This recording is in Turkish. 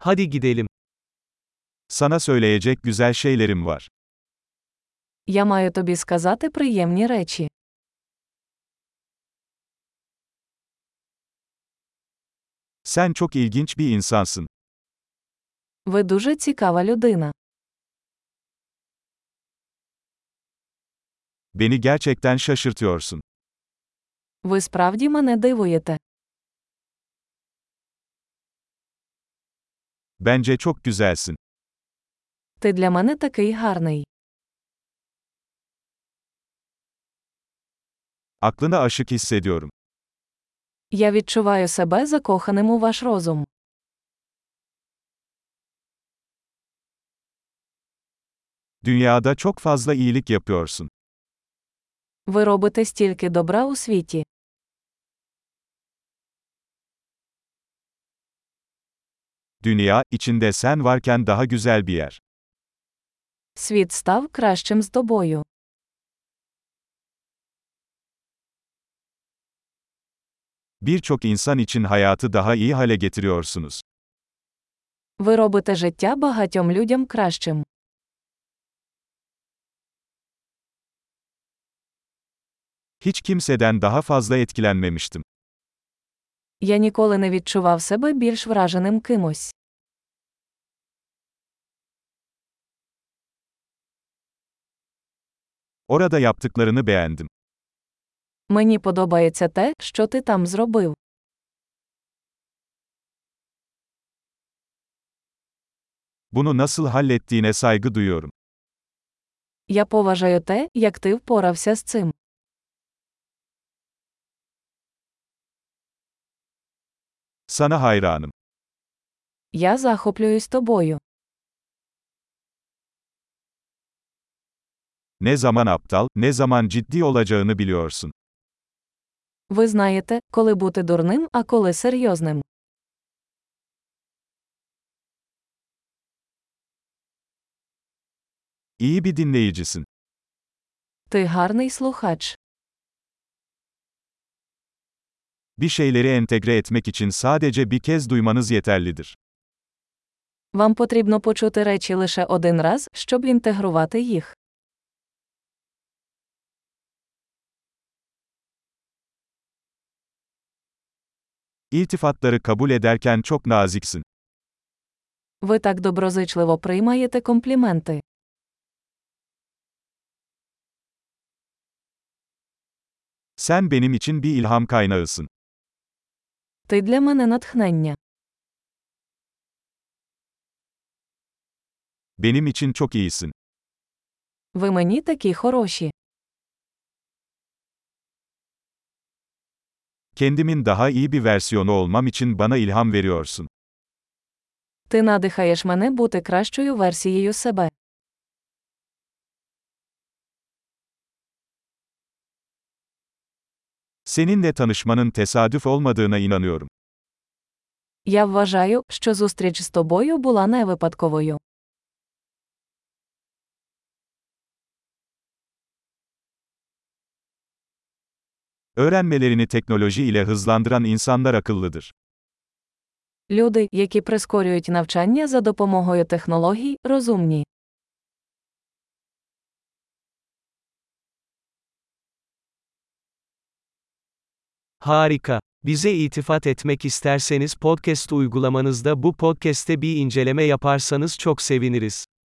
Hadi gidelim. Sana söyleyecek güzel şeylerim var. Я маю тобі сказати приємні речі. Sen çok ilginç bir insansın. Ви дуже цікава людина. Beni gerçekten şaşırtıyorsun. Ви справді мене дивуєте. Bence çok güzelsin. Ти для мене такий гарний. Aklına aşık hissediyorum. Я відчуваю себе закоханим у ваш розум. Dünyada çok fazla iyilik yapıyorsun. Ви робите стільки добра у світі. Dünya, içinde sen varken daha güzel bir yer. Світ став кращим з тобою. Birçok insan için hayatı daha iyi hale getiriyorsunuz. Ви робите життя багатьом людям кращим. Hiç kimseden daha fazla etkilenmemiştim. Я ніколи не відчував себе більш враженим кимось. Orada yaptıklarını beğendim. Мені подобається те, що ти там зробив. Bunu nasıl hallettiğine saygı duyuyorum. Я поважаю те, як ти впорався з цим. Sana hayranım. Я захоплююсь тобою. Ne zaman aptal, ne zaman ciddi olacağını biliyorsun. Ви знаєте, коли бути дурним, а коли серйозним. İyi bir dinleyicisin. Ти гарний слухач. Bir şeyleri entegre etmek için sadece bir kez duymanız yeterlidir. Вам потрібно почути речі лише один раз, щоб інтегрувати їх. İltifatları kabul ederken çok naziksin. Ви так доброзичливо приймаєте компліменти. Sen benim için bir ilham kaynağısın. Ти для мене натхнення. Benim için çok iyisin. Ви мені такі хороші. Kendimin daha iyi bir versiyonu olmam için bana ilham veriyorsun. Ти надихаєш мене бути кращою версією себе. Seninle tanışmanın tesadüf olmadığına inanıyorum. Я вважаю, що зустріч з тобою була не випадковою. Öğrenmelerini teknoloji ile hızlandıran insanlar akıllıdır. Люди, які прискорюють навчання за допомогою технологій, розумні. Harika. Bize itifat etmek isterseniz podcast uygulamanızda bu podcast'te bir inceleme yaparsanız çok seviniriz.